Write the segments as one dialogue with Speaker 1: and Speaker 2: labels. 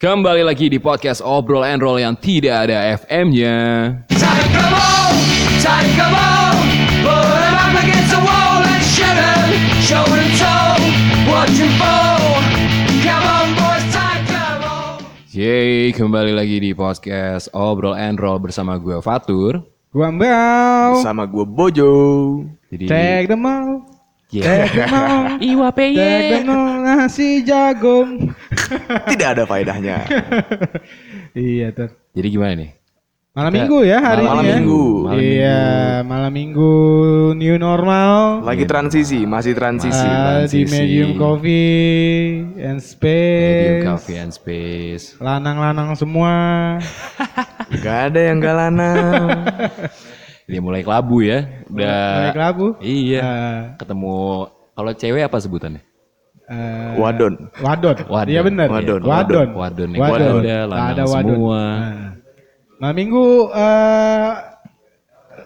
Speaker 1: Kembali lagi di podcast Obrol and Roll yang tidak ada FM-nya.
Speaker 2: Take a ball, take a ball, put 'em up against the wall and shoot 'em, shoulder to toe, watch 'em fall. Come on, boys, take a ball.
Speaker 1: Yeay, kembali lagi di podcast Obrol and Roll bersama gue Fatur.
Speaker 3: Guambau,
Speaker 4: Sama gue Bojo.
Speaker 1: Jadi
Speaker 3: tag the mall,
Speaker 1: Yeah.
Speaker 3: tag the mall,
Speaker 5: Iwa
Speaker 3: tag the
Speaker 5: peye.
Speaker 3: mall, nasi jagung.
Speaker 4: Tidak ada faedahnya.
Speaker 3: iya ter.
Speaker 1: jadi gimana nih?
Speaker 3: Malam minggu ya hari
Speaker 4: Malam
Speaker 3: ini ya.
Speaker 4: minggu.
Speaker 1: Iya. Malam
Speaker 3: iya, malam minggu new normal.
Speaker 4: Lagi transisi, masih Gitu. transisi.
Speaker 3: Ah, di
Speaker 1: transisi.
Speaker 3: medium coffee and
Speaker 1: Medium
Speaker 3: space.
Speaker 1: Coffee and Space.
Speaker 3: Lanang-lanang semua.
Speaker 4: Gak ada yang galana.
Speaker 1: Dia mulai kelabu ya. Udah.
Speaker 3: Baik labu.
Speaker 1: Iya.
Speaker 3: Ah,
Speaker 1: Ketemu kalau cewek apa sebutannya?
Speaker 3: eh,
Speaker 4: Wadon.
Speaker 3: Wadon.
Speaker 1: Wadon.
Speaker 3: Iya benar.
Speaker 4: Wadon.
Speaker 3: Wadon.
Speaker 1: Wadon. Wadon.
Speaker 3: Wadon.
Speaker 1: Ada
Speaker 3: Nggak
Speaker 1: lanang semua.
Speaker 3: Nah. Malam minggu eh,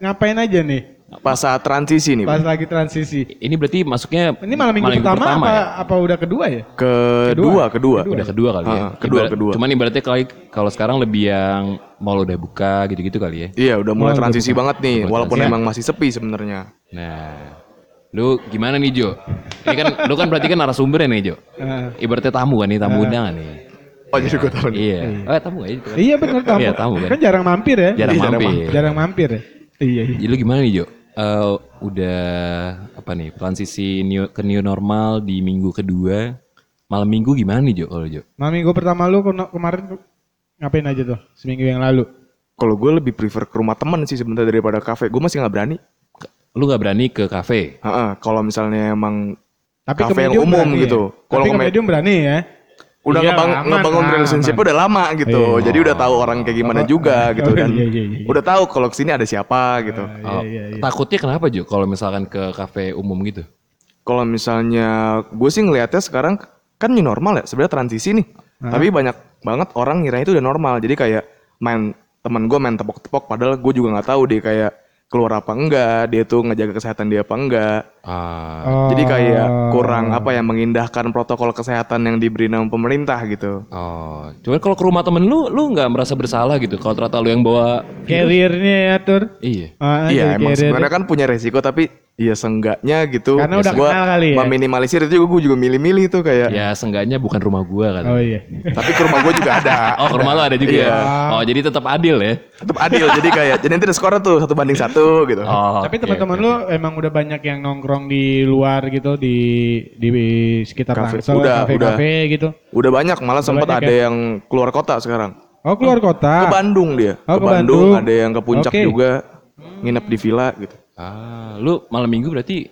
Speaker 3: ngapain aja nih
Speaker 4: Pas saat transisi nih.
Speaker 3: pas
Speaker 4: Pak.
Speaker 3: lagi transisi?
Speaker 1: Ini berarti masuknya
Speaker 3: Ini malam minggu pertama, ya? apa, apa udah kedua ya?
Speaker 4: Kedua, kedua.
Speaker 1: ya? Udah
Speaker 3: Iya.
Speaker 1: kedua kali ya.
Speaker 4: Ah, kedua, kedua.
Speaker 1: Cuman ibaratnya kalau- kalau sekarang lebih yang mall udah buka gitu-gitu kali ya.
Speaker 4: Iya, udah mulai transisi banget nih. Walaupun
Speaker 1: transisi.
Speaker 4: emang masih sepi sebenarnya.
Speaker 1: Nah, lu gimana nih Jo? Ini kan lu kan berarti kan narasumbernya nih Jo.
Speaker 3: Eh,
Speaker 1: Ibaratnya tamu kan nih, tamu undangan nih.
Speaker 4: Oh, jadi gue tahu nih.
Speaker 1: Iya. Eh, tamu aja. Gitu. kan.
Speaker 3: Nah. iya benar tamu.
Speaker 1: Iya, tamu, kan?
Speaker 3: kan jarang mampir ya?
Speaker 1: Jarang
Speaker 4: Iya, jarang
Speaker 1: mampir.
Speaker 3: Jarang mampir ya? Iya, iya.
Speaker 1: Jadi lu gimana nih Jo? Eh, udah apa nih transisi new, ke new normal di minggu kedua malam minggu gimana nih Jo kalau Jo?
Speaker 3: Malam minggu pertama lu kena- kemarin ngapain aja tuh seminggu yang lalu?
Speaker 4: Kalau gue lebih prefer ke rumah teman sih sebentar daripada kafe. Gue masih nggak berani.
Speaker 1: Lu nggak berani ke kafe?
Speaker 4: Heeh, kalau misalnya emang
Speaker 3: Tapi
Speaker 4: Kafe
Speaker 3: ke
Speaker 4: yang
Speaker 3: medium
Speaker 4: umum
Speaker 3: berani
Speaker 4: gitu.
Speaker 3: Ya?
Speaker 4: Kalau
Speaker 3: Tapi
Speaker 4: ke
Speaker 3: ke
Speaker 4: med-
Speaker 3: medium berani ya?
Speaker 4: udah
Speaker 3: Iya,
Speaker 4: ngebang-
Speaker 3: aman,
Speaker 4: ngebangun
Speaker 3: aman.
Speaker 4: relationship udah lama gitu. Jadi udah tahu orang kayak gimana juga gitu dan
Speaker 3: iya, iya, iya.
Speaker 4: udah tahu kalau kesini ada siapa gitu.
Speaker 1: Oh, Takutnya kenapa Jo kalau misalkan ke kafe umum gitu?
Speaker 4: Kalau misalnya gue sih ngelihatnya sekarang kan new normal ya sebenarnya transisi nih.
Speaker 3: Nah.
Speaker 4: Tapi banyak banget orang ngira itu udah normal. Jadi kayak main teman gue main tepok-tepok padahal gue juga nggak tahu dia kayak keluar apa enggak, dia tuh ngejaga kesehatan dia apa enggak.
Speaker 1: Ah,
Speaker 3: Oh.
Speaker 4: Jadi kayak kurang apa ya mengindahkan protokol kesehatan yang diberi nama pemerintah gitu.
Speaker 1: Oh, cuman kalau ke rumah temen lu, lu nggak merasa bersalah gitu? Kalau ternyata lu yang bawa,
Speaker 3: Karirnya ya, Tur.
Speaker 1: iya.
Speaker 3: Ah,
Speaker 4: Iya
Speaker 3: jadi
Speaker 4: emang
Speaker 3: carrier-nya.
Speaker 4: sebenarnya kan punya resiko tapi ya seenggaknya gitu.
Speaker 3: Karena
Speaker 4: Ya,
Speaker 3: udah
Speaker 4: gua
Speaker 3: kenal kali ya.
Speaker 4: Meminimalisir itu juga gue juga milih-milih tuh kayak.
Speaker 1: Ya seenggaknya bukan rumah gua kan.
Speaker 3: Oh iya.
Speaker 4: Tapi ke rumah gue juga ada.
Speaker 1: Oh, ke rumah lu ada juga.
Speaker 4: Iya.
Speaker 1: ya? Oh, jadi tetap adil ya.
Speaker 4: tetap adil jadi kayak jadi nanti ada skornya tuh satu banding satu gitu
Speaker 1: Oh,
Speaker 3: Tapi teman-teman lu emang udah banyak yang nongkrong di luar gitu di di sekitar
Speaker 4: Kafe.
Speaker 3: Tangsel,
Speaker 4: Udah,
Speaker 3: kafe-kafe gitu.
Speaker 4: udah banyak ya? malah sempat
Speaker 3: banyak
Speaker 4: ada yang keluar kota sekarang
Speaker 3: Oh keluar
Speaker 4: ke
Speaker 3: kota.
Speaker 4: Bandung dia
Speaker 3: Oh, ke
Speaker 4: ke,
Speaker 3: Bandung.
Speaker 4: Bandung. ada yang ke puncak
Speaker 3: Oke.
Speaker 4: juga nginep di villa gitu
Speaker 1: Ah, lu malam minggu berarti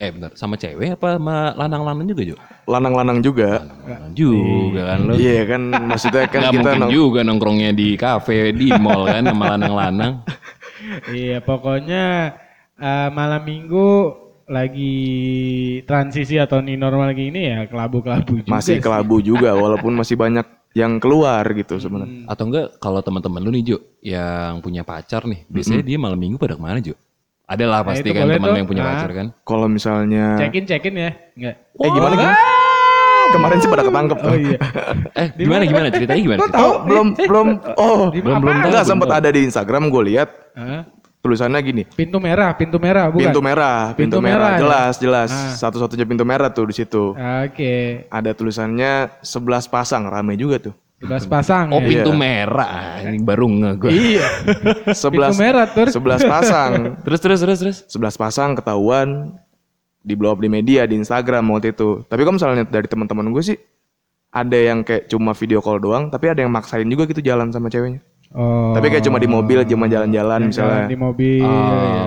Speaker 1: eh bentar sama cewek apa sama lanang-lanang juga Jo?
Speaker 4: lanang-lanang juga
Speaker 1: Lanang juga kan lu.
Speaker 4: iya kan maksudnya kan
Speaker 1: Nggak
Speaker 4: kita
Speaker 1: mungkin
Speaker 4: nong-
Speaker 1: juga nongkrongnya di kafe, di mall kan sama lanang-lanang.
Speaker 3: Iya pokoknya eh, malam minggu lagi transisi atau new normal gini ya kelabu-kelabu juga.
Speaker 4: masih
Speaker 3: sih.
Speaker 4: kelabu juga walaupun masih banyak yang keluar gitu sebenarnya
Speaker 1: Atau enggak kalau teman-teman lu nih Jo yang punya pacar nih, biasanya dia malam minggu pada kemana Jo? Ada lah pasti
Speaker 3: itu
Speaker 1: kan
Speaker 3: boleh
Speaker 1: teman lu
Speaker 3: tuh.
Speaker 1: yang punya
Speaker 3: Ah.
Speaker 1: pacar kan.
Speaker 4: kalau misalnya
Speaker 3: Cekin cekin ya. Enggak.
Speaker 4: eh gimana gimana kemarin sih pada ketangkep
Speaker 3: Oh iya.
Speaker 1: Eh, gimana gimana ceritanya gimana? ceritanya?
Speaker 4: oh belum
Speaker 3: Eh,
Speaker 4: belum oh
Speaker 1: Belum belum tahu.
Speaker 4: enggak
Speaker 1: belum
Speaker 4: sempat
Speaker 1: tahu.
Speaker 4: ada di Instagram gue lihat
Speaker 3: Hah?
Speaker 4: tulisannya gini
Speaker 3: pintu merah, pintu merah bukan.
Speaker 4: Pintu merah,
Speaker 3: Pintu
Speaker 4: pintu,
Speaker 3: merah
Speaker 4: merah,
Speaker 3: ya?
Speaker 4: jelas, jelas.
Speaker 3: Ah.
Speaker 4: Satu-satunya pintu merah tuh di situ.
Speaker 3: Oke.
Speaker 4: Ada tulisannya 11 pasang, rame juga tuh.
Speaker 3: Bebas pasang.
Speaker 1: Oh
Speaker 3: ya.
Speaker 1: pintu merah ini baru nge gue.
Speaker 3: Iya.
Speaker 4: 11
Speaker 3: merah, Tur.
Speaker 4: 11 pasang.
Speaker 1: Terus terus terus terus.
Speaker 4: 11 pasang ketahuan di blow up di media, di Instagram waktu itu. Tapi kalau misalnya dari teman-teman gue sih ada yang kayak cuma video call doang, tapi ada yang maksain juga gitu jalan sama ceweknya.
Speaker 3: Oh. Iya,
Speaker 4: Tapi kayak cuma di mobil, cuma jalan-jalan misalnya. Oh,
Speaker 3: Di mobil. iya.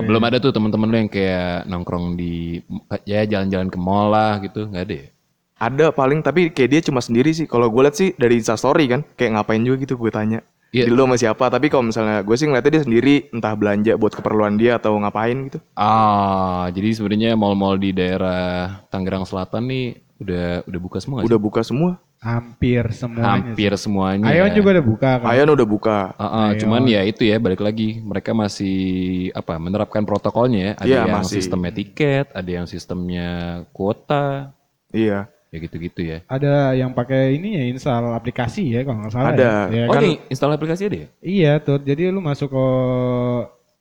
Speaker 1: Ah, belum ada tuh teman-teman lu yang kayak nongkrong di ya jalan-jalan ke mall lah gitu nggak ada. ya?
Speaker 4: Ada paling tapi kayak dia cuma sendiri sih. Kalau gue lihat sih dari Insta story kan, kayak ngapain juga gitu gue tanya.
Speaker 1: Iya.
Speaker 4: Di lu sama siapa? Tapi kalau misalnya gue sih ngeliatnya dia sendiri, entah belanja buat keperluan dia atau ngapain gitu.
Speaker 1: Ah, jadi sebenarnya mall-mall di daerah Tangerang Selatan nih udah udah buka semua. nggak sih?
Speaker 4: Udah buka semua.
Speaker 3: Hampir semuanya.
Speaker 1: hampir semuanya.
Speaker 3: Ayon juga udah buka kan.
Speaker 4: Ayan udah buka.
Speaker 1: Ah, ah, cuman ya itu ya balik lagi mereka masih apa menerapkan protokolnya ya. Ada
Speaker 4: Iya,
Speaker 1: yang
Speaker 4: masih.
Speaker 1: sistemnya tiket, ada yang sistemnya kuota.
Speaker 4: Iya.
Speaker 1: ya gitu-gitu ya.
Speaker 3: Ada yang pakai ini ya install aplikasi ya kalau nggak salah.
Speaker 4: Ada.
Speaker 3: Ya, ya
Speaker 1: oh
Speaker 3: kan?
Speaker 1: ini install aplikasi ada ya?
Speaker 3: Iya tuh. Jadi lu masuk ke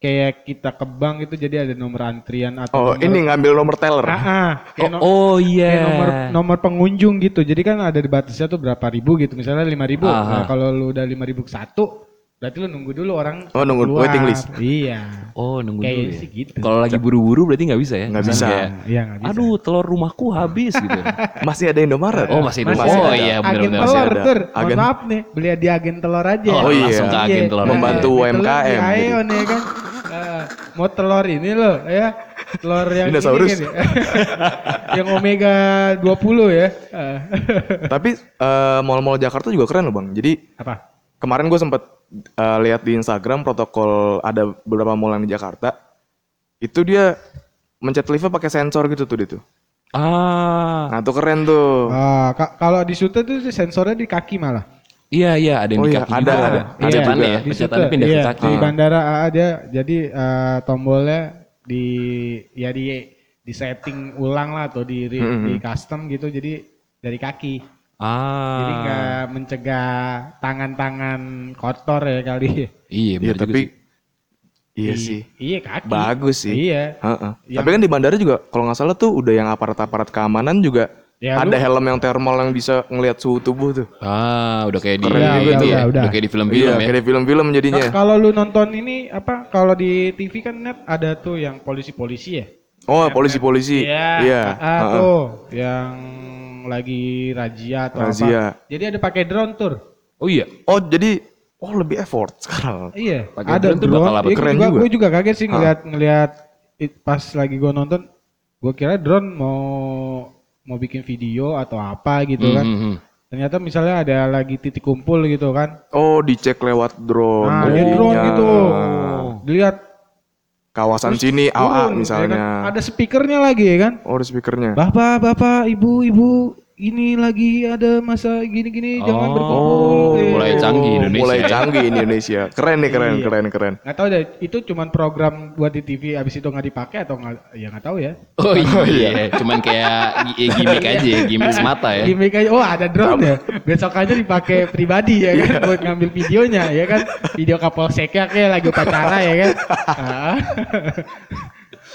Speaker 3: kayak kita ke bank itu jadi ada nomor antrian atau
Speaker 4: Oh, ini ngambil nomor teller.
Speaker 3: Ah, ah. Kayak no-
Speaker 1: Oh, oh
Speaker 3: kayak
Speaker 1: iya.
Speaker 3: nomor nomor pengunjung gitu. Jadi kan ada di batasnya tuh berapa ribu gitu. Misalnya lima ribu.
Speaker 1: Aha.
Speaker 3: Nah, kalau lu udah lima ribu ke satu, berarti lu nunggu dulu orang.
Speaker 4: Oh, nunggu
Speaker 3: keluar.
Speaker 4: waiting list.
Speaker 3: Iya.
Speaker 1: Oh nunggu
Speaker 3: Kayak
Speaker 1: dulu ya.
Speaker 3: sih gitu.
Speaker 1: Kalau lagi buru-buru berarti nggak bisa ya?
Speaker 4: Nggak
Speaker 1: Misalnya
Speaker 4: bisa.
Speaker 1: kayak,
Speaker 3: Iya nggak bisa.
Speaker 1: Aduh telur rumahku habis gitu.
Speaker 4: Masih ada Indomaret.
Speaker 1: Oh, masih ada.
Speaker 4: Masih
Speaker 1: Oh,
Speaker 4: ada.
Speaker 1: iya.
Speaker 3: agen
Speaker 1: benar-benar masih
Speaker 3: telur,
Speaker 4: ada.
Speaker 3: Tur.
Speaker 4: Agen-
Speaker 3: Mohon maaf nih, beli di agen telur aja. ya.
Speaker 4: Oh, iya.
Speaker 1: Langsung ke agen telur.
Speaker 4: Membantu
Speaker 3: Iya, beli telur
Speaker 4: UMKM.
Speaker 3: di Aeon ya kan. Eh, mau telur ini loh, ya. Telur yang ini
Speaker 4: Dinosaurus.
Speaker 3: kan ya. yang omega 20 ya. Eh,
Speaker 4: Tapi eh, mall-mall Jakarta juga keren loh, Bang. Jadi
Speaker 3: apa?
Speaker 4: kemarin gue sempet eh, lihat di Instagram protokol ada beberapa mall yang di Jakarta. Itu dia mencet liftnya pakai sensor gitu tuh dia tuh.
Speaker 1: ah
Speaker 4: Nah, tuh keren tuh.
Speaker 3: Ah, ka- kalau di Sute tuh sensornya di kaki malah.
Speaker 1: iya iya ada yang
Speaker 4: Oh,
Speaker 1: di
Speaker 4: iya,
Speaker 1: kaki
Speaker 4: ada,
Speaker 1: juga.
Speaker 4: ada. Ada
Speaker 1: Pencetannya
Speaker 4: juga.
Speaker 1: ya.
Speaker 3: Di
Speaker 1: Pencetannya
Speaker 3: Sute,
Speaker 1: pindah
Speaker 3: iya,
Speaker 1: ke kaki. Ah.
Speaker 3: Di bandara AA dia jadi eh, tombolnya di ya di di setting ulang lah atau di re- di custom gitu jadi dari kaki.
Speaker 1: Ah.
Speaker 3: Jadi nggak mencegah tangan-tangan kotor ya kali.
Speaker 1: Iya
Speaker 4: Iya,
Speaker 1: benar juga sih.
Speaker 4: tapi iya
Speaker 3: I-
Speaker 4: sih.
Speaker 3: Iya kaki.
Speaker 4: Bagus sih.
Speaker 3: Iya.
Speaker 4: Heeh.
Speaker 3: Yang-
Speaker 4: Tapi kan di bandara juga kalau nggak salah tuh udah yang aparat-aparat keamanan juga
Speaker 3: Ya, lu-
Speaker 4: ada helm yang thermal yang bisa ngelihat suhu tubuh tuh.
Speaker 1: Ah udah kayak di
Speaker 4: Keren
Speaker 1: itu
Speaker 4: juga tuh.
Speaker 1: ya.
Speaker 3: Iya, Udah, udah.
Speaker 1: kayak di film-film
Speaker 4: iya,
Speaker 1: ya.
Speaker 4: kayak di film-film jadinya.
Speaker 3: Ka- Kalau lu nonton ini apa? Kalau di TV kan net ada tuh yang polisi-polisi ya.
Speaker 4: Oh, polisi-polisi. Iya.
Speaker 3: ah,
Speaker 4: heeh.
Speaker 3: tuh yang lagi razia atau
Speaker 4: Razia.
Speaker 3: apa. Jadi ada pakai drone tour.
Speaker 1: Oh iya.
Speaker 4: Oh, jadi oh lebih effort sekarang.
Speaker 3: Iya.
Speaker 1: Pakai
Speaker 3: ada
Speaker 1: drone tuh bakal apa?
Speaker 3: Iya,
Speaker 4: Keren
Speaker 3: gua-
Speaker 4: juga.
Speaker 3: Gue juga kaget sih ngeliat ngeliat it- pas lagi gue nonton. Gue kira drone mau mau bikin video atau apa gitu kan.
Speaker 1: Hmm, hmm.
Speaker 3: Ternyata misalnya ada lagi titik kumpul gitu kan.
Speaker 4: Oh, dicek lewat drone.
Speaker 3: Nah, ada
Speaker 4: jadinya.
Speaker 3: drone gitu. Dilihat
Speaker 4: Kawasan sini
Speaker 3: turun, ya
Speaker 4: AA misalnya.
Speaker 3: kan. Ada speakernya lagi ya kan.
Speaker 4: Oh, ada speakernya.
Speaker 3: Bapak, bapak, ibu, ibu, ini lagi ada masa gini-gini jangan
Speaker 1: Oh,
Speaker 3: berkumpul. Eh,
Speaker 1: mulai canggih Indonesia.
Speaker 4: Iya. Oh, Mulai
Speaker 1: ya.
Speaker 4: canggih Indonesia. Keren nih, keren,
Speaker 3: Iya.
Speaker 4: keren, keren.
Speaker 3: Nggak tahu deh, itu cuman program buat di TV abis itu nggak dipakai atau nggak ya nggak tahu ya.
Speaker 1: Oh iya, cuman kayak gi- gimmick aja ya, gimmick semata ya.
Speaker 3: Gimik aja, oh ada drone ya. Besok aja dipakai pribadi ya kan buat ngambil videonya ya kan. Video kapolseknya kayak lagi upacara ya kan. Ah.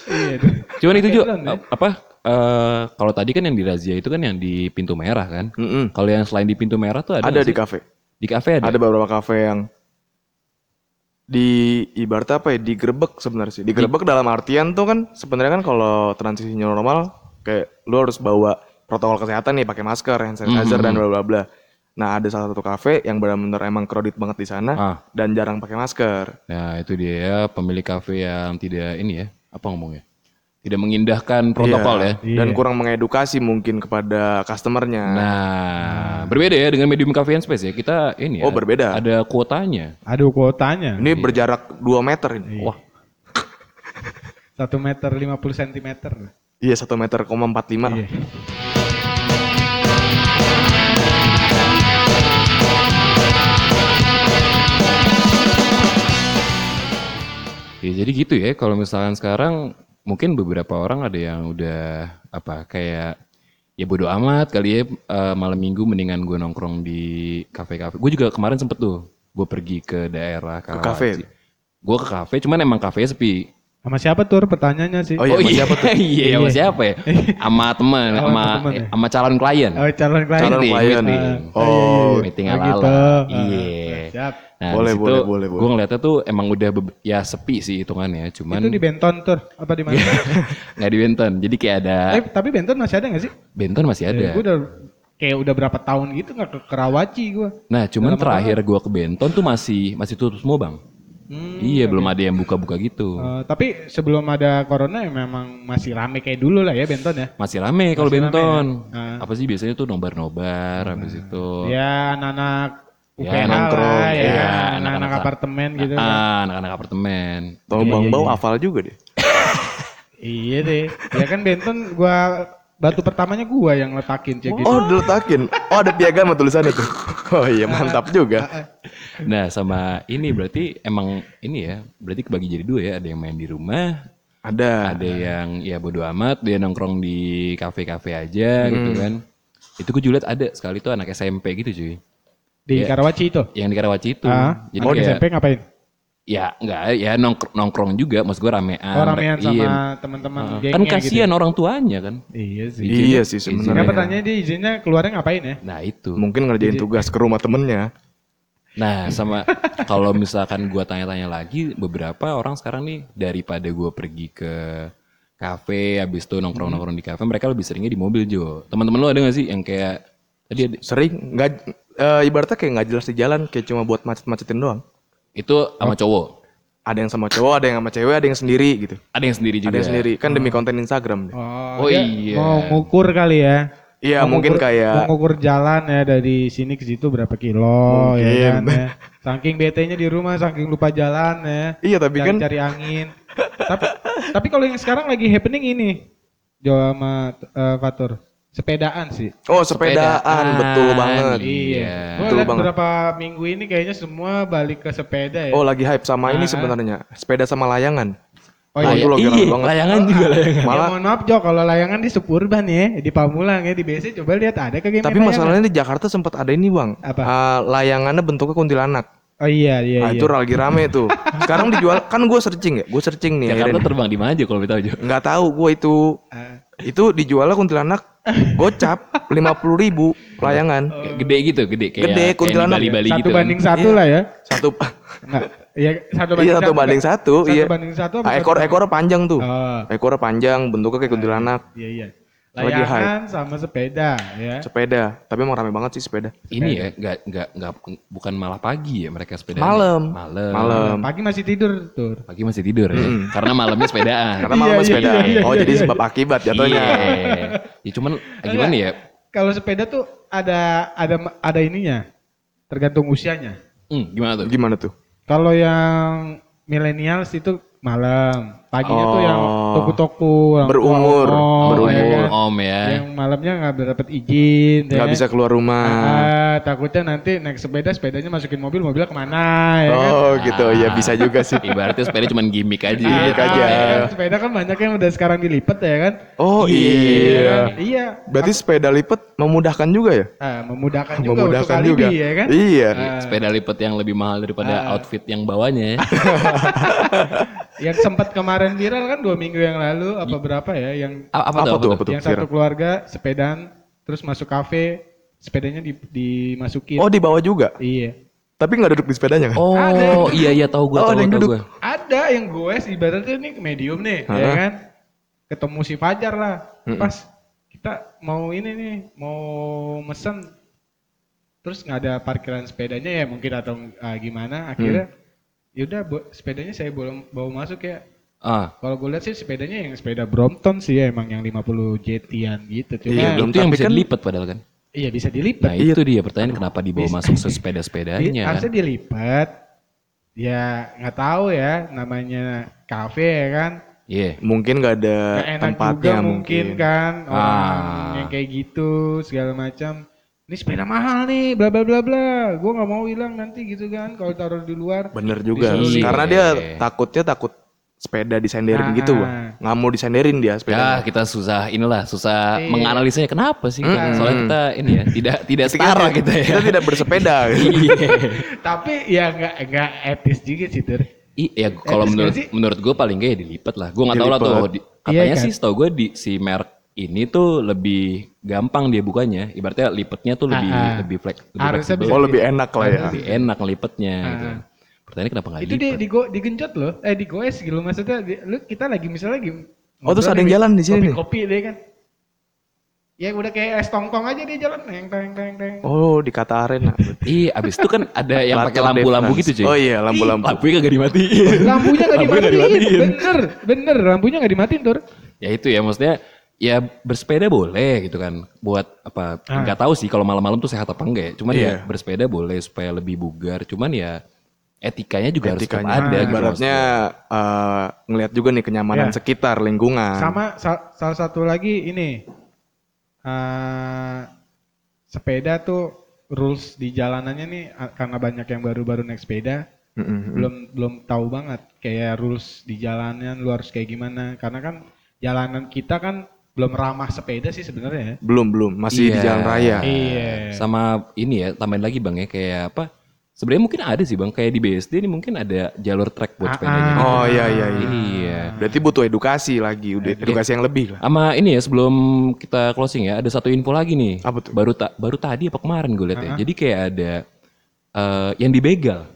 Speaker 3: Iya. tuh.
Speaker 1: Cuman itu juga
Speaker 3: Keren, ya.
Speaker 1: apa? eh, kalau tadi kan yang dirazia itu kan yang di pintu merah kan.
Speaker 4: Mm-mm.
Speaker 1: Kalau yang selain di pintu merah tuh ada
Speaker 4: Ada
Speaker 1: nggak
Speaker 4: di
Speaker 1: sih?
Speaker 4: kafe.
Speaker 1: di kafe ada.
Speaker 4: Ada beberapa kafe yang di ibarat apa ya digerebek sebenarnya sih digerebek dalam artian tuh kan sebenarnya kan kalau transisinya normal kayak lu harus bawa protokol kesehatan nih pakai masker hand sanitizer dan
Speaker 1: Mm-hmm.
Speaker 4: bla bla bla nah ada salah satu kafe yang benar-benar emang crowded banget di sana
Speaker 1: Ah.
Speaker 4: dan jarang pakai masker
Speaker 1: Nah, itu dia pemilik kafe yang tidak ini ya, apa ngomongnya? Tidak mengindahkan protokol ya.
Speaker 4: Iya. dan kurang mengedukasi mungkin kepada customernya
Speaker 1: Nah, berbeda ya dengan medium cafe and space ya. Kita ini ya.
Speaker 4: Oh, berbeda.
Speaker 1: Ada kuotanya.
Speaker 3: Aduh kuotanya.
Speaker 4: ini berjarak 2 meter ini
Speaker 1: iya. Wah,
Speaker 3: Satu meter 50 sentimeter.
Speaker 4: iya satu meter koma empat lima
Speaker 3: Iya.
Speaker 1: Ya jadi gitu ya kalau misalkan sekarang mungkin beberapa orang ada yang udah apa kayak ya bodo amat kali ya eh, malam minggu mendingan gue nongkrong di kafe-kafe. Gue juga kemarin sempet tuh gue pergi ke daerah Karawaci.
Speaker 4: kafe?
Speaker 1: Gue ke kafe cuman emang kafe sepi.
Speaker 3: Sama siapa tur pertanyaannya sih?
Speaker 4: Oh iya, sama siapa
Speaker 1: tuh? Iya, sama siapa ya? Sama temen,
Speaker 3: Sama
Speaker 1: sama
Speaker 3: temen ya?
Speaker 1: sama calon klien.
Speaker 3: Oh, calon klien.
Speaker 4: calon
Speaker 1: Meeting,
Speaker 4: klien
Speaker 1: meeting.
Speaker 4: oh
Speaker 1: meeting
Speaker 3: iya, Oh,
Speaker 1: ala
Speaker 3: gitu.
Speaker 1: ala.
Speaker 3: Ah,
Speaker 1: Iya.
Speaker 3: siap.
Speaker 1: Nah,
Speaker 4: Boleh,
Speaker 1: di situ
Speaker 4: boleh, boleh, boleh.
Speaker 1: Gue ngeliatnya tuh emang udah be- ya sepi sih hitungannya, cuman
Speaker 3: Itu di Benton tur apa di mana?
Speaker 1: Iya. nggak di Benton. Jadi kayak ada
Speaker 3: eh, ya, tapi Benton masih ada nggak sih?
Speaker 1: Benton masih ada.
Speaker 3: Gue udah kayak udah berapa tahun gitu nggak ke Karawaci gue.
Speaker 1: Nah, cuman terakhir gua ke Benton tuh masih masih tutup semua, Bang.
Speaker 3: Hmm.
Speaker 1: iya, belum ada yang buka-buka gitu.
Speaker 3: Eh, tapi sebelum ada corona ya memang masih rame kayak dulu lah ya Benton ya.
Speaker 1: Masih rame kalau
Speaker 3: Masih rame
Speaker 1: Benton.
Speaker 3: ya? Ah. Nah,
Speaker 1: Apa sih biasanya tuh nobar-nobar habis itu.
Speaker 3: Ya anak-anak
Speaker 1: Ya,
Speaker 3: UPH
Speaker 4: nongkrong,
Speaker 3: lah, ya,
Speaker 1: ya,
Speaker 3: kan?
Speaker 1: anak-anak
Speaker 3: anak-anak
Speaker 1: sa-
Speaker 3: apartemen gitu. kan.
Speaker 1: Ah, anak-anak apartemen.
Speaker 4: Tau bang bau hafal juga deh
Speaker 3: Iya deh. Ya kan Benton gua batu pertamanya gua yang letakin cek gitu.
Speaker 4: Oh diletakin Oh ada piagam sama tulisannya tuh Oh iya mantap juga
Speaker 1: Nah, sama ini berarti emang ini ya, berarti kebagi jadi dua ya, ada yang main di rumah,
Speaker 4: Ada
Speaker 3: Ah. Hmm.
Speaker 1: ada yang ya bodo amat, dia nongkrong di kafe-kafe aja gitu kan. Itu gue juga liat ada sekali tuh anak SMP gitu cuy. Iya.
Speaker 3: Di Karawaci itu.
Speaker 1: Yang di Karawaci itu.
Speaker 3: Ah,
Speaker 1: Jadi
Speaker 3: oh, di
Speaker 1: kayak,
Speaker 3: SMP ngapain?
Speaker 1: ya enggak, ya nongkrong, nongkrong juga. Maksud gue ramean.
Speaker 3: Oh, ramean sama
Speaker 1: Iya.
Speaker 3: teman-teman
Speaker 1: Heeh.
Speaker 3: gengnya ya?
Speaker 1: Kan kasihan orang tuanya kan.
Speaker 3: Gitu. Iya sih.
Speaker 1: Izinnya-
Speaker 4: Iya sih
Speaker 1: izinnya-
Speaker 3: Nah,
Speaker 4: sebenarnya.
Speaker 3: pertanyaannya dia izinnya keluarnya ngapain ya?
Speaker 1: Nah itu.
Speaker 4: Mungkin
Speaker 3: Iya.
Speaker 4: ngerjain tugas ke rumah temennya.
Speaker 1: Nah sama kalau misalkan gua tanya-tanya lagi, beberapa orang sekarang nih daripada gua pergi ke kafe, habis itu nongkrong-nongkrong
Speaker 3: Hmm.
Speaker 1: di kafe, mereka lebih seringnya di mobil Jo. Teman-teman lu ada gak sih yang kayak tadi ada-
Speaker 4: Sering nggak eh, ibaratnya kayak nggak jelas di jalan, kayak cuma buat macet-macetin doang.
Speaker 1: itu sama
Speaker 3: Oh.
Speaker 1: cowok,
Speaker 4: Ada yang sama cowok, ada yang sama cewek, ada yang sendiri gitu.
Speaker 1: ada yang sendiri juga.
Speaker 4: Ada yang sendiri kan demi konten Instagram. dia.
Speaker 3: Ah. Oh,
Speaker 1: Oh,
Speaker 3: dia
Speaker 1: iya.
Speaker 3: Mau ngukur kali ya.
Speaker 4: Iya
Speaker 3: Mau
Speaker 4: mungkin
Speaker 3: ngukur-
Speaker 4: kayak
Speaker 3: mau ngukur jalan ya dari sini ke situ berapa kilo
Speaker 4: Mungkin.
Speaker 3: ya kan ya. Saking BT-nya di rumah, saking lupa jalan ya.
Speaker 4: Iya, tapi
Speaker 3: cari,
Speaker 4: kan-
Speaker 3: cari angin. tapi tapi kalau yang sekarang lagi happening ini Jo sama eh, Fatur. Sepedaan sih.
Speaker 4: oh sepedaan betul banget.
Speaker 1: Iya.
Speaker 3: Gua
Speaker 4: Betul
Speaker 3: lihat
Speaker 4: banget.
Speaker 3: beberapa minggu ini kayaknya semua balik ke sepeda ya.
Speaker 4: Oh lagi hype sama ini
Speaker 3: Ah.
Speaker 4: sebenarnya sepeda sama layangan.
Speaker 3: Oh,
Speaker 4: Wah,
Speaker 3: iya.
Speaker 4: itu lagi
Speaker 1: Iya,
Speaker 4: rame banget. Iya,
Speaker 1: layangan juga layangan.
Speaker 3: Ya,
Speaker 4: Malah
Speaker 3: mohon maaf Jo, kalau layangan di Suburban ya, di Pamulang ya, di BC coba lihat ada kagak yang
Speaker 4: tapi
Speaker 3: main layangan?
Speaker 4: masalahnya di Jakarta sempat ada ini bang.
Speaker 3: iya, Apa?
Speaker 4: Ah, layangannya bentuknya kuntilanak.
Speaker 3: Oh iya iya
Speaker 4: Nah,
Speaker 3: iya.
Speaker 4: itu lagi rame tuh. Sekarang dijual kan gue searching ya, gue searching
Speaker 3: kan
Speaker 4: nih.
Speaker 1: Jakarta
Speaker 4: akhirnya.
Speaker 1: terbang di mana aja kalau kita Jo?
Speaker 4: Nggak tahu gue itu
Speaker 3: Ah.
Speaker 4: itu dijualnya kuntilanak gocap lima puluh ribu layangan
Speaker 1: Kayak Gede gitu, gede kayak
Speaker 4: Oh. Gede,
Speaker 1: kayak di
Speaker 4: kuntilanak.
Speaker 1: Bali-Bali
Speaker 3: satu
Speaker 1: gitu. kan.
Speaker 3: banding satu
Speaker 4: Iya.
Speaker 3: lah ya.
Speaker 4: satu
Speaker 3: Enggak. Iya, satu banding
Speaker 4: iya satu
Speaker 3: enggak?
Speaker 4: banding satu
Speaker 3: Satu
Speaker 4: iya
Speaker 3: banding satu apa
Speaker 4: Ah,
Speaker 3: satu
Speaker 4: ekor
Speaker 3: banding-
Speaker 4: ekor panjang tuh
Speaker 3: Oh,
Speaker 4: ekor panjang bentuknya kayak kuntilanak
Speaker 3: iya iya.
Speaker 4: Lagi
Speaker 3: Layangan sama sepeda ya.
Speaker 4: sepeda tapi emang rame banget sih sepeda
Speaker 1: Ini ya, nggak nggak nggak bukan malah pagi ya mereka sepeda.
Speaker 4: Malam.
Speaker 1: Malam.
Speaker 3: Ah.
Speaker 4: malam
Speaker 3: Pagi masih tidur tuh.
Speaker 1: Pagi masih tidur ya, karena malamnya sepedaan.
Speaker 4: karena
Speaker 3: Iya,
Speaker 4: malam
Speaker 3: iya,
Speaker 4: sepeda
Speaker 3: iya, iya,
Speaker 4: oh
Speaker 3: iya,
Speaker 4: jadi
Speaker 3: iya.
Speaker 4: sebab akibat jatuhnya
Speaker 1: Iya. Ya cuman eh, gimana ya?
Speaker 3: Kalau sepeda tuh ada ada ada ininya. Tergantung usianya.
Speaker 1: Hmm, gimana
Speaker 3: Iya.
Speaker 1: tuh?
Speaker 4: gimana tuh
Speaker 3: Kalau yang millennials itu malam. Paginya tuh yang
Speaker 4: Oh.
Speaker 3: toko-toko orang
Speaker 4: Berumur,
Speaker 3: tua,
Speaker 4: berumur.
Speaker 3: ya kan?
Speaker 1: Om ya.
Speaker 3: Yang malamnya nggak dapat izin. ya
Speaker 4: nggak
Speaker 3: kan?
Speaker 4: bisa keluar rumah
Speaker 3: Ah, takutnya nanti naik sepeda, sepedanya masukin mobil, mobilnya kemana ya kan?
Speaker 4: oh gitu ya bisa juga sih
Speaker 1: Ibaratnya sepeda cuman gimmick aja.
Speaker 3: Ah,
Speaker 4: Gimmick aja.
Speaker 3: ya kan? Sepeda kan banyak yang udah sekarang dilipet ya kan?
Speaker 4: oh iya
Speaker 3: Iya.
Speaker 4: berarti sepeda lipat memudahkan juga ya
Speaker 3: Ah, memudahkan juga untuk
Speaker 4: memudahkan
Speaker 3: alibi
Speaker 4: juga
Speaker 3: ya kan?
Speaker 4: iya
Speaker 1: Sepeda lipat yang lebih mahal daripada
Speaker 3: Ah.
Speaker 1: outfit yang bawahnya. ya.
Speaker 3: Yang sempat kemarin viral kan dua minggu yang lalu apa berapa ya? Yang
Speaker 1: A- apa, tuh?
Speaker 4: Apa
Speaker 1: Apa
Speaker 4: tuh,
Speaker 1: tuh?
Speaker 4: apa tuh?
Speaker 3: yang satu
Speaker 4: Viral.
Speaker 3: keluarga sepedaan terus masuk kafe, sepedanya di, dimasukin.
Speaker 4: oh di bawah juga
Speaker 3: Iya.
Speaker 4: tapi nggak duduk di sepedanya kan
Speaker 1: Oh,
Speaker 3: Ada.
Speaker 1: iya iya tahu gua
Speaker 4: Oh,
Speaker 1: tahu
Speaker 4: ada yang
Speaker 1: tahu
Speaker 4: duduk.
Speaker 1: gua.
Speaker 3: Ada yang gue ibaratnya nih medium nih, ya
Speaker 4: Heeh.
Speaker 3: kan? Ketemu si Fajar lah.
Speaker 4: Mm-mm.
Speaker 3: Pas kita mau ini nih, mau mesen terus nggak ada parkiran sepedanya ya mungkin atau ah, gimana akhirnya
Speaker 4: Mm.
Speaker 3: yaudah bu- sepedanya saya belum bawa masuk ya
Speaker 1: Ah.
Speaker 3: kalau gue lihat sih sepedanya yang sepeda Brompton sih ya, emang yang 50 jetian gitu cuma
Speaker 4: Iya,
Speaker 1: Nah,
Speaker 4: belum,
Speaker 1: itu yang
Speaker 4: tapi
Speaker 1: bisa
Speaker 4: kan-
Speaker 1: dilipat padahal kan.
Speaker 3: iya bisa
Speaker 1: Nah,
Speaker 3: dilipat
Speaker 1: itu dia pertanyaan kenapa dibawa
Speaker 3: Bisa.
Speaker 1: masuk ke
Speaker 3: Di-
Speaker 4: Iya.
Speaker 1: sepeda-sepedanya
Speaker 3: harusnya
Speaker 1: kan.
Speaker 3: dilipat ya nggak tahu ya namanya kafe ya kan
Speaker 1: Iya.
Speaker 4: mungkin nggak ada
Speaker 3: Nggak enak juga
Speaker 4: tempatnya
Speaker 3: mungkin, kan orang
Speaker 1: Ah.
Speaker 3: yang kayak gitu segala macam ini sepeda mahal nih bla bla bla bla gue nggak mau hilang nanti gitu kan kalau taruh di luar
Speaker 4: Bener juga.
Speaker 3: Diseluruh.
Speaker 4: Karena
Speaker 1: Iya.
Speaker 4: dia takutnya takut sepeda
Speaker 3: Ah.
Speaker 4: disenderin gitu, Bang. Nggak mau disenderin
Speaker 1: Ya,
Speaker 4: dia sepeda.
Speaker 1: kita susah inilah susah
Speaker 3: Iya. Hmm.
Speaker 1: menganalisanya kenapa sih kan? Soalnya kita ini ya tidak tidak setara kita ya.
Speaker 4: Kita tidak bersepeda.
Speaker 1: Iya.
Speaker 3: tapi ya nggak nggak etis juga sih Tur.
Speaker 1: Iya, kalau
Speaker 3: Eh, terus
Speaker 1: menurut
Speaker 3: gimana sih?
Speaker 1: menurut gue paling gak ya dilipat lah. Gue nggak tahu lah
Speaker 4: Dilipat.
Speaker 1: tuh. di- katanya
Speaker 3: Iya,
Speaker 1: sih, setahu gue di si merek ini tuh lebih gampang dia bukanya. Ibaratnya lipetnya tuh lebih
Speaker 3: Ah, ah.
Speaker 1: lebih flek, lebih
Speaker 3: Harusnya
Speaker 1: fleksibel,
Speaker 3: bisa
Speaker 4: Oh, lebih enak lah ya.
Speaker 1: lebih enak ngelipetnya gitu.
Speaker 3: Ah.
Speaker 1: Pertanyaannya kenapa nggak
Speaker 3: itu
Speaker 1: dilipat?
Speaker 3: di, digo, digenjot loh eh digoes gitu maksudnya di- lu kita lagi misalnya lagi
Speaker 4: Oh, terus ada yang jalan di sini nih?
Speaker 3: kopi deh kan ya udah kayak es tongkong aja dia jalan teng teng teng teng
Speaker 4: Oh, di kata arena.
Speaker 1: Iya, abis itu kan ada yang pakai
Speaker 4: Latar
Speaker 1: lampu-lampu
Speaker 4: difference.
Speaker 1: gitu cuy.
Speaker 4: Oh iya, lampu-lampu.
Speaker 1: Lampunya kagak dimatiin.
Speaker 3: lampunya nggak
Speaker 1: Lampunya nggak
Speaker 3: dimatiin bener bener lampunya nggak dimatiin tur
Speaker 1: ya itu ya maksudnya ya bersepeda boleh gitu kan buat apa
Speaker 3: Ah.
Speaker 1: nggak tahu sih kalau malam-malam tuh sehat apa enggak ya cuman
Speaker 4: Iya.
Speaker 1: ya bersepeda boleh supaya lebih bugar cuman ya etikanya juga
Speaker 3: Ah,
Speaker 4: Etikanya. Ah.
Speaker 1: harus tetap ada gitu
Speaker 4: Ibaratnya eh, ngelihat juga nih kenyamanan
Speaker 3: Iya.
Speaker 4: sekitar lingkungan.
Speaker 3: sama sa- salah satu lagi ini eh, sepeda tuh rules di jalanannya nih a- karena banyak yang baru-baru naik sepeda
Speaker 4: Mm-mm.
Speaker 3: belum belum tahu banget kayak rules di jalanan lu harus kayak gimana karena kan jalanan kita kan belum ramah sepeda sih sebenarnya ya.
Speaker 4: Belum, belum. Masih di
Speaker 1: Iya.
Speaker 4: jalan raya.
Speaker 3: Iya.
Speaker 1: Sama ini ya, tambahin lagi bang ya kayak apa? Sebenarnya mungkin ada sih bang, kayak di BSD ini mungkin ada jalur trek buat
Speaker 3: Ah,
Speaker 1: sepedanya. gitu.
Speaker 3: ah.
Speaker 4: Oh iya, iya, iya.
Speaker 1: Iya.
Speaker 4: Berarti butuh edukasi lagi, udah edukasi yang lebih lah.
Speaker 1: Sama ini ya sebelum kita closing ya, ada satu info lagi nih.
Speaker 4: Apa tuh?
Speaker 1: Baru tak baru tadi apa kemarin gue lihat ya. Jadi kayak ada eh, yang dibegal.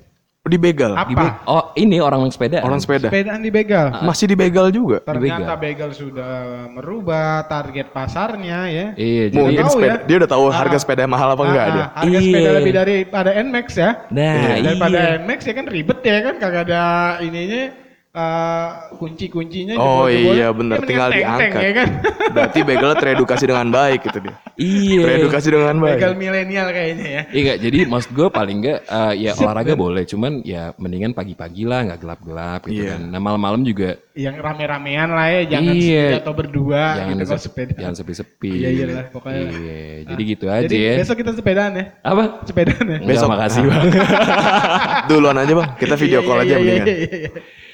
Speaker 4: Dibegal.
Speaker 3: Apa?
Speaker 1: Dibe- oh ini orang yang sepeda.
Speaker 4: Orang sepeda.
Speaker 3: Sepedaan dibegal.
Speaker 4: Masih dibegal juga.
Speaker 3: Ternyata begal sudah merubah target pasarnya ya.
Speaker 1: Iya. Jadi,
Speaker 4: Mungkin
Speaker 3: tahu
Speaker 4: sepeda,
Speaker 3: ya.
Speaker 4: dia udah tahu
Speaker 3: Ah.
Speaker 4: harga sepeda mahal apa
Speaker 3: Ah,
Speaker 4: enggak
Speaker 3: ah,
Speaker 4: dia.
Speaker 3: Harga sepeda
Speaker 1: Iya.
Speaker 3: lebih dari pada Nmax ya.
Speaker 1: Nah,
Speaker 3: Daripada
Speaker 1: iya.
Speaker 3: Nmax ya kan ribet ya kan kagak ada ininya eh, kunci-kuncinya
Speaker 4: Oh
Speaker 3: jebol-jebolnya.
Speaker 4: iya
Speaker 3: Ya,
Speaker 4: benar
Speaker 3: mendingan
Speaker 4: tinggal
Speaker 3: teng-teng,
Speaker 4: diangkat.
Speaker 3: ya kan.
Speaker 4: Berarti begal teredukasi dengan baik gitu dia.
Speaker 1: Iya.
Speaker 4: Teredukasi dengan
Speaker 3: Begal
Speaker 4: baik.
Speaker 3: milenial kayaknya ya.
Speaker 1: Iya nggak, jadi maksud gue paling nggak eh, ya olahraga boleh, cuman ya mendingan pagi-pagi lah, nggak gelap-gelap gitu
Speaker 4: Iya.
Speaker 1: kan. Nah malam-malam juga
Speaker 3: Yang rame-ramean lah ya,
Speaker 1: Iya.
Speaker 3: jangan sendiri atau berdua
Speaker 1: jangan
Speaker 3: gitu kalau
Speaker 1: sep-
Speaker 3: sepeda.
Speaker 1: jangan sepi-sepi.
Speaker 3: Iya, iyalah, pokoknya.
Speaker 1: Iya,
Speaker 3: Nah,
Speaker 1: jadi gitu aja
Speaker 3: Jadi
Speaker 1: ya.
Speaker 3: besok kita sepedaan ya.
Speaker 1: Apa?
Speaker 3: Sepedaan ya.
Speaker 1: Enggak,
Speaker 4: Besok.
Speaker 1: makasih bang.
Speaker 4: Duluan aja bang, kita video
Speaker 3: Iya,
Speaker 4: call
Speaker 3: iya,
Speaker 4: aja
Speaker 3: iya,
Speaker 4: mendingan.
Speaker 3: iya, iya.